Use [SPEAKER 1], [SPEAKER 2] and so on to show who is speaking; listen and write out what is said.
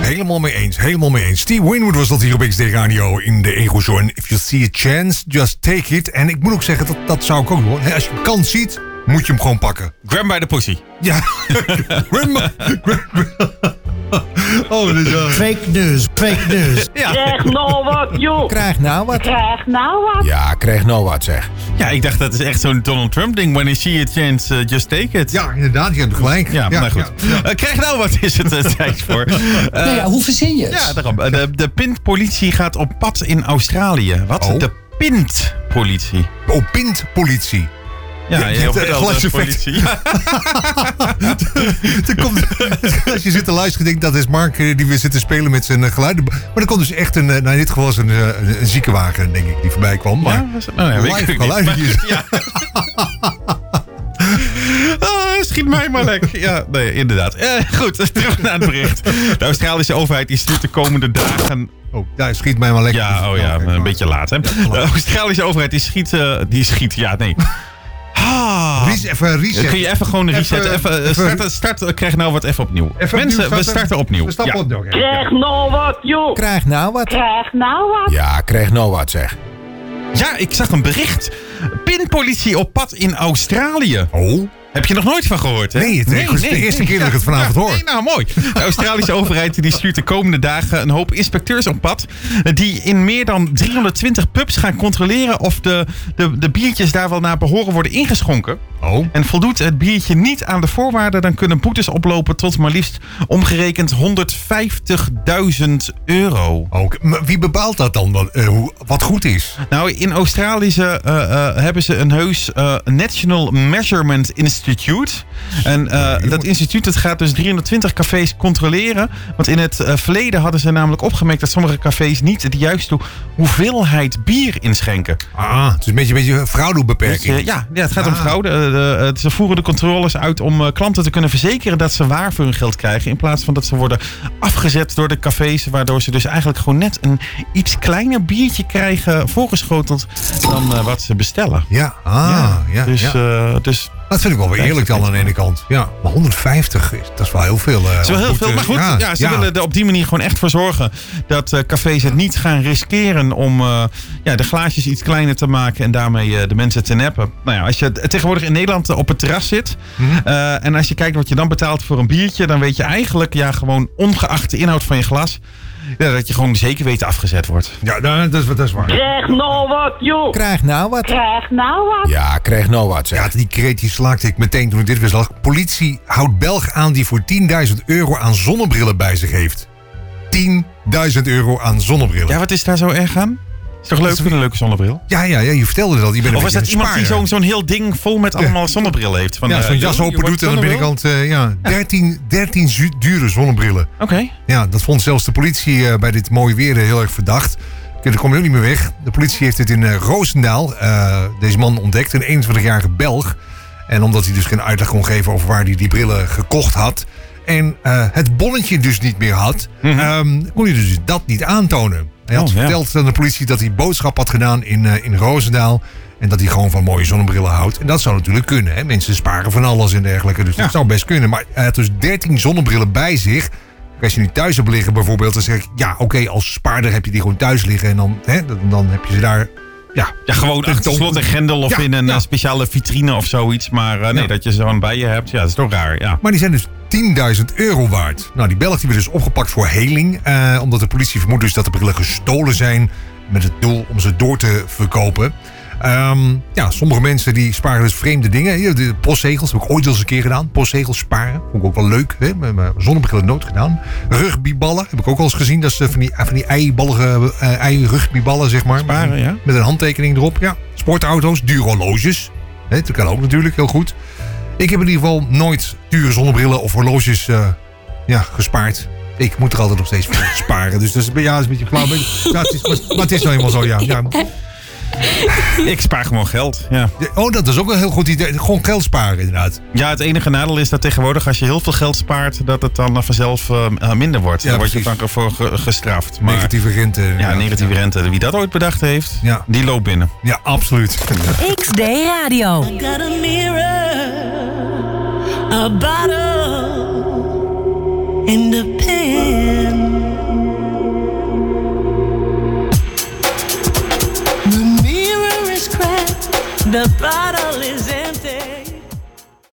[SPEAKER 1] Helemaal mee eens, helemaal mee eens. Steve Winwood was dat hier op XD Radio in de Ego Show. En if you see a chance, just take it. En ik moet ook zeggen, dat, dat zou ik ook doen. Hè, Als je een kans ziet, moet je hem gewoon pakken.
[SPEAKER 2] Graham bij de pussy.
[SPEAKER 1] Ja. Grandma- oh, dit is wel...
[SPEAKER 3] Fake news, fake news.
[SPEAKER 4] Krijg nou wat, joh.
[SPEAKER 3] Krijg nou wat.
[SPEAKER 4] Krijg nou wat.
[SPEAKER 5] Ja, kreeg nou wat zeg.
[SPEAKER 2] Ja, ik dacht dat is echt zo'n Donald Trump ding. When I see a chance, eh, just take it.
[SPEAKER 1] Ja, inderdaad, je hebt gelijk.
[SPEAKER 2] Ja, maar goed.
[SPEAKER 1] ja.
[SPEAKER 2] Eh, krijg nou wat is het eh, tijd voor. Eh,
[SPEAKER 6] nou ja, hoe verzin je het?
[SPEAKER 2] ja, daarom. Eh, De, de pintpolitie gaat op pad in Australië. Wat?
[SPEAKER 1] Oh.
[SPEAKER 2] De pintpolitie.
[SPEAKER 1] Oh, pintpolitie.
[SPEAKER 2] Ja,
[SPEAKER 1] je
[SPEAKER 2] heel
[SPEAKER 1] hebt, eh,
[SPEAKER 2] veel de
[SPEAKER 1] glaseffect.
[SPEAKER 2] politie. Ja,
[SPEAKER 1] Er komt, als je zit te luisteren, denk ik, dat is Mark eh, die weer zit te spelen met zijn eh, geluiden. Maar er komt dus echt een, eh, nou in dit geval is een, eh, een, een ziekenwagen, denk ik, die voorbij kwam. Maar
[SPEAKER 2] Ja, was het- nou ja, weet
[SPEAKER 1] live
[SPEAKER 2] ik ook niet.
[SPEAKER 1] geluidjes.
[SPEAKER 2] Ah, schiet mij maar lek. Ja, nee, inderdaad. Eh, goed, terug naar het bericht. De Australische overheid die stuurt de komende dagen
[SPEAKER 1] Oh, daar schiet mij maar lekker. Nou,
[SPEAKER 2] Ja, oh ja,
[SPEAKER 1] kijk
[SPEAKER 2] een
[SPEAKER 1] maar.
[SPEAKER 2] beetje laat, hè? de Australische overheid die schiet, eh, die schiet, ja, nee. Ah,
[SPEAKER 1] Ries, even reset.
[SPEAKER 2] kun je even gewoon resetten? Even, eh,
[SPEAKER 1] even-
[SPEAKER 2] starten, starten, eh, krijg nou wat even opnieuw.
[SPEAKER 1] Even
[SPEAKER 2] Mensen,
[SPEAKER 1] opnieuw
[SPEAKER 2] we starten opnieuw.
[SPEAKER 1] We stappen
[SPEAKER 2] Ja.
[SPEAKER 1] opnieuw. ja.
[SPEAKER 4] Krijg nou wat, joh.
[SPEAKER 3] Krijg nou wat.
[SPEAKER 4] Krijg nou wat.
[SPEAKER 5] Ja, kreeg nou wat zeg.
[SPEAKER 2] ja, ik zag een bericht. Pinpolitie op pad in Australië.
[SPEAKER 1] Oh,
[SPEAKER 2] Heb je nog nooit van gehoord, hè?
[SPEAKER 1] nee, het is de eerste keer dat ik het vanavond hoor.
[SPEAKER 2] Nee, nou mooi. De Australische overheid die stuurt de komende dagen een hoop inspecteurs op pad. Die in meer dan 320 pubs gaan controleren of de, de, de biertjes daar wel naar behoren worden ingeschonken.
[SPEAKER 1] Oh,
[SPEAKER 2] En voldoet het biertje niet aan de voorwaarden, dan kunnen boetes oplopen tot maar liefst omgerekend 150.000 euro.
[SPEAKER 1] ook. Maar wie bepaalt dat dan, wat, eh, hoe, wat goed is?
[SPEAKER 2] Nou, in Australische eh, eh, hebben ze een heus eh, National Measurement Institute. En eh, dat instituut dat gaat dus 320 cafés controleren. Want in het eh, verleden hadden ze namelijk opgemerkt dat sommige cafés niet de juiste hoeveelheid bier inschenken.
[SPEAKER 1] Ah, het is een beetje, een beetje een fraudebeperking.
[SPEAKER 2] Dus, eh, ja, ja, het gaat om
[SPEAKER 1] Ah.
[SPEAKER 2] fraude. Eh, de- het- ze voeren de controles uit om eh, klanten te kunnen verzekeren dat ze waar voor hun geld krijgen. In plaats van dat ze worden afgezet door de cafés. Waardoor ze dus eigenlijk gewoon net een iets kleiner biertje krijgen voorgeschoteld dan eh, wat ze bestellen.
[SPEAKER 1] Ja, ah, ja. ja,
[SPEAKER 2] dus, eh, dus
[SPEAKER 1] Dat vind ik wel weer eerlijk dan aan de ene kant. Ja, maar 150, is- dat is wel heel veel. eh,
[SPEAKER 2] Het is wel heel
[SPEAKER 1] goed,
[SPEAKER 2] veel.
[SPEAKER 1] eh,
[SPEAKER 2] Maar goed, ja, ze willen er op die manier gewoon echt voor zorgen dat eh, cafés het niet gaan riskeren om eh, ja, de glaasjes iets kleiner te maken en daarmee eh, de mensen te neppen. Nou ja, als je t- tegenwoordig in Nederland eh, op het terras zit eh, en als je kijkt wat je dan betaalt voor een biertje, dan weet je eigenlijk, ja, gewoon ongeacht de inhoud van je glas, ja, dat je gewoon zeker weet afgezet wordt.
[SPEAKER 1] Ja, nou, dat, is, dat is waar.
[SPEAKER 4] Krijg nou wat, joh.
[SPEAKER 3] Krijg nou wat.
[SPEAKER 4] Krijg nou wat.
[SPEAKER 5] Ja, kreeg nou wat
[SPEAKER 1] Ja,
[SPEAKER 5] zeg.
[SPEAKER 1] die kreet die slaakte ik meteen toen ik dit weer zag. Politie houdt Belg aan die voor 10.000 euro aan zonnebrillen bij zich heeft. 10.000 euro aan zonnebrillen.
[SPEAKER 2] Ja,
[SPEAKER 1] Ja,
[SPEAKER 2] wat is daar zo erg aan? Is toch leuk voor een leuke zonnebril?
[SPEAKER 1] ja, ja, je vertelde dat. Je bent een
[SPEAKER 2] Of was
[SPEAKER 1] beetje
[SPEAKER 2] dat
[SPEAKER 1] een
[SPEAKER 2] iemand die
[SPEAKER 1] spaarder.
[SPEAKER 2] zo'n zo'n heel ding vol met allemaal zonnebrillen heeft? Van,
[SPEAKER 1] Ja,
[SPEAKER 2] eh,
[SPEAKER 1] zo'n jas
[SPEAKER 2] je
[SPEAKER 1] open
[SPEAKER 2] wordt
[SPEAKER 1] doet en aan de
[SPEAKER 2] zonnebril?
[SPEAKER 1] binnenkant... eh, ja, 13, 13 zu- dure zonnebrillen.
[SPEAKER 2] Oké.
[SPEAKER 1] Ja, dat vond zelfs de politie eh, bij dit mooie weer eh, heel erg verdacht. Oké, Daar kom je ook niet meer weg. De politie heeft dit in eh, Roosendaal, eh, deze man ontdekt, een 21-jarige Belg. En omdat hij dus geen uitleg kon geven over waar hij die brillen gekocht had... en eh, het bonnetje dus niet meer had, ehm, kon hij dus dat niet aantonen. Hij had
[SPEAKER 2] Mhm. Oh, ja.
[SPEAKER 1] verteld aan de politie dat hij boodschap had gedaan in, eh, in Roosendaal... en dat hij gewoon van mooie zonnebrillen houdt. En dat zou natuurlijk kunnen. Hè? Mensen sparen van alles en dergelijke, dus dat zou best kunnen. Maar hij had dus 13 zonnebrillen bij zich... Als je nu thuis hebt liggen bijvoorbeeld, dan zeg ik... ja, oké, als spaarder heb je die gewoon thuis liggen... en dan, hè, dan, dan heb je ze daar... Ja,
[SPEAKER 2] Ja, gewoon achter
[SPEAKER 1] Tentoon-
[SPEAKER 2] slot en grendel of
[SPEAKER 1] Ja,
[SPEAKER 2] in een
[SPEAKER 1] ja.
[SPEAKER 2] eh, speciale vitrine of zoiets. Maar eh, nee,
[SPEAKER 1] Ja.
[SPEAKER 2] dat je ze gewoon bij je hebt, ja, dat is toch raar. Ja.
[SPEAKER 1] Maar die zijn dus 10.000 euro waard. Nou, die Belg die werd dus opgepakt voor heling... eh, omdat de politie vermoedt dus dat de brillen gestolen zijn... met het doel om ze door te verkopen... Ehm, ja, sommige mensen die sparen dus vreemde dingen. Hier, De postzegels heb ik ooit wel eens een keer gedaan. Postzegels sparen, vond ik ook wel leuk. Hè? Met mijn zonnebrillen nooit gedaan. Rugbyballen heb ik ook wel eens gezien. Dat is eh, van die, van die eiballige eh, ei-rugbyballen, zeg maar.
[SPEAKER 2] Sparen, ja.
[SPEAKER 1] Met een handtekening erop. Ja. Sportauto's, dure horloges. Hè, dat kan ook natuurlijk, heel goed. Ik heb in ieder geval nooit dure zonnebrillen of horloges eh, ja, gespaard. Ik moet er altijd nog steeds voor sparen. Dus dat is, ja, dat is een beetje flauw. maar- Ja, het is, maar, maar het is nou eenmaal zo, ja. ja.
[SPEAKER 2] Ik spaar gewoon geld. Ja.
[SPEAKER 1] Oh, dat is ook een heel goed idee. Gewoon geld sparen, inderdaad.
[SPEAKER 2] ja, het enige nadeel is dat tegenwoordig als je heel veel geld spaart, dat het dan eh, vanzelf eh, eh, minder wordt.
[SPEAKER 1] Ja,
[SPEAKER 2] Daar word je
[SPEAKER 1] precies.
[SPEAKER 2] dan voor ge- gestraft. Maar
[SPEAKER 1] Negatieve rente.
[SPEAKER 2] ja, negatieve rente. Wie dat ooit bedacht heeft,
[SPEAKER 1] Ja.
[SPEAKER 2] die loopt binnen.
[SPEAKER 1] Ja, absoluut.
[SPEAKER 7] XD Radio.
[SPEAKER 8] Got a mirror, a bottle, and a pen. The bottle is empty.